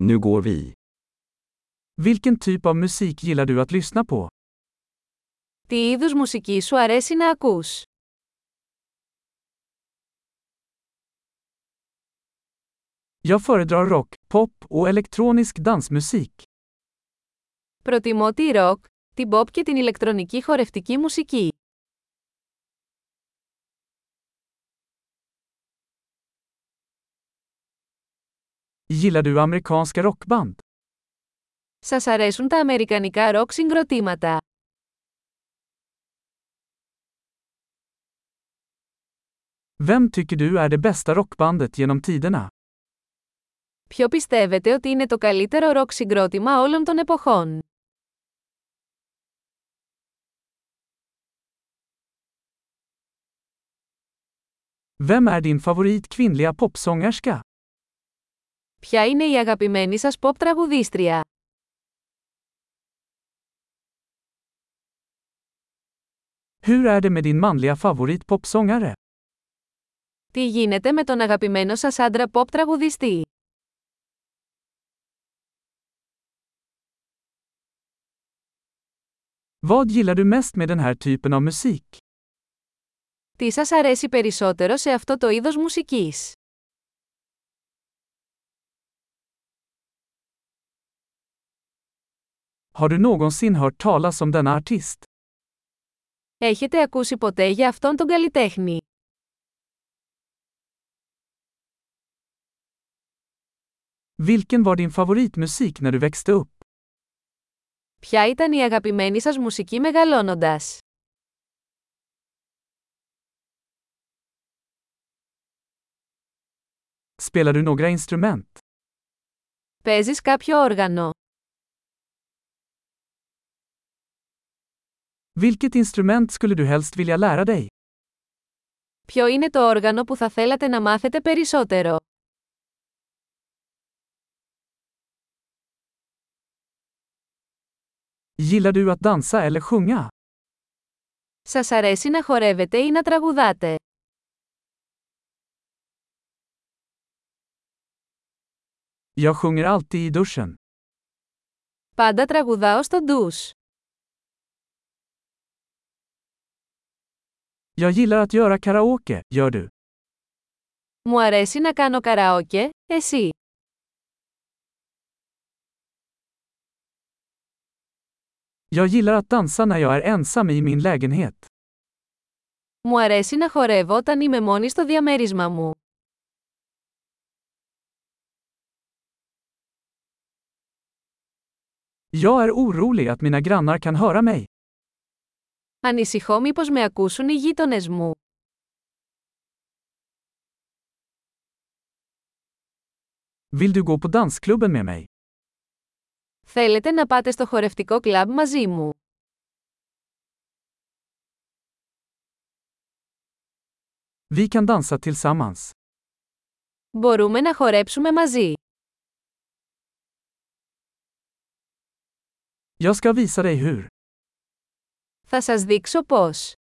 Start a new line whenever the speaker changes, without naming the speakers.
Nu går vi.
Vilken typ av musik gillar du att lyssna på?
Τι είδους μουσική σου αρέσει να ακούς?
Jag föredrar rock, pop och elektronisk dansmusik.
Προτιμώ τη ροκ, την pop και την ηλεκτρονική χορευτική μουσική.
Gillar du amerikanska rockband?
Σας αρέσουν τα αμερικανικά ροκ συγκροτήματα.
Vem tycker du är det bästa rockbandet genom tiderna?
Ποιο πιστεύετε ότι είναι το καλύτερο ροκ συγκρότημα όλων των εποχών?
Vem är din favorit kvinnliga popsångerska?
Ποια είναι η αγαπημένη σας pop τραγουδίστρια?
Hur är det med din manliga favorit popsångare?
Τι γίνεται με τον αγαπημένο σας άντρα pop τραγουδιστή?
Vad gillar du mest med den här typen av musik?
Τι σας αρέσει περισσότερο σε αυτό το είδος μουσικής?
Har du någonsin hört talas om denna artist?
Έχετε ακούσει ποτέ για αυτόν τον καλλιτέχνη?
Vilken var din favoritmusik när du växte upp?
Ποια ήταν η αγαπημένη σας μουσική μεγαλώνοντας?
Spelar du några instrument?
Παίζεις κάποιο όργανο.
Vilket instrument skulle du helst vilja lära dig?
Ποιο είναι το όργανο που θα θέλατε να μάθετε περισσότερο?
Gillar du att dansa eller sjunga?
Σας αρέσει να χορεύετε ή να τραγουδάτε.
Jag sjunger alltid i duschen.
Πάντα τραγουδάω στο ντους.
Jag gillar att göra karaoke, gör du?
Μου αρέσει να κάνω καραόκε, εσύ.
Jag gillar att dansa när jag är ensam i min lägenhet.
Μου αρέσει να χορεύω όταν είμαι μόνη στο διαμέρισμά μου.
Jag är orolig att mina grannar kan höra mig.
Ανησυχώ μήπως με ακούσουν οι γείτονες μου.
Vill du gå på dansklubben med mig?
Θέλετε να πάτε στο χορευτικό κλαμπ μαζί μου.
Vi kan dansa tillsammans.
Μπορούμε να χορέψουμε μαζί.
Jag ska visa dig hur.
Θα σας δείξω πώς.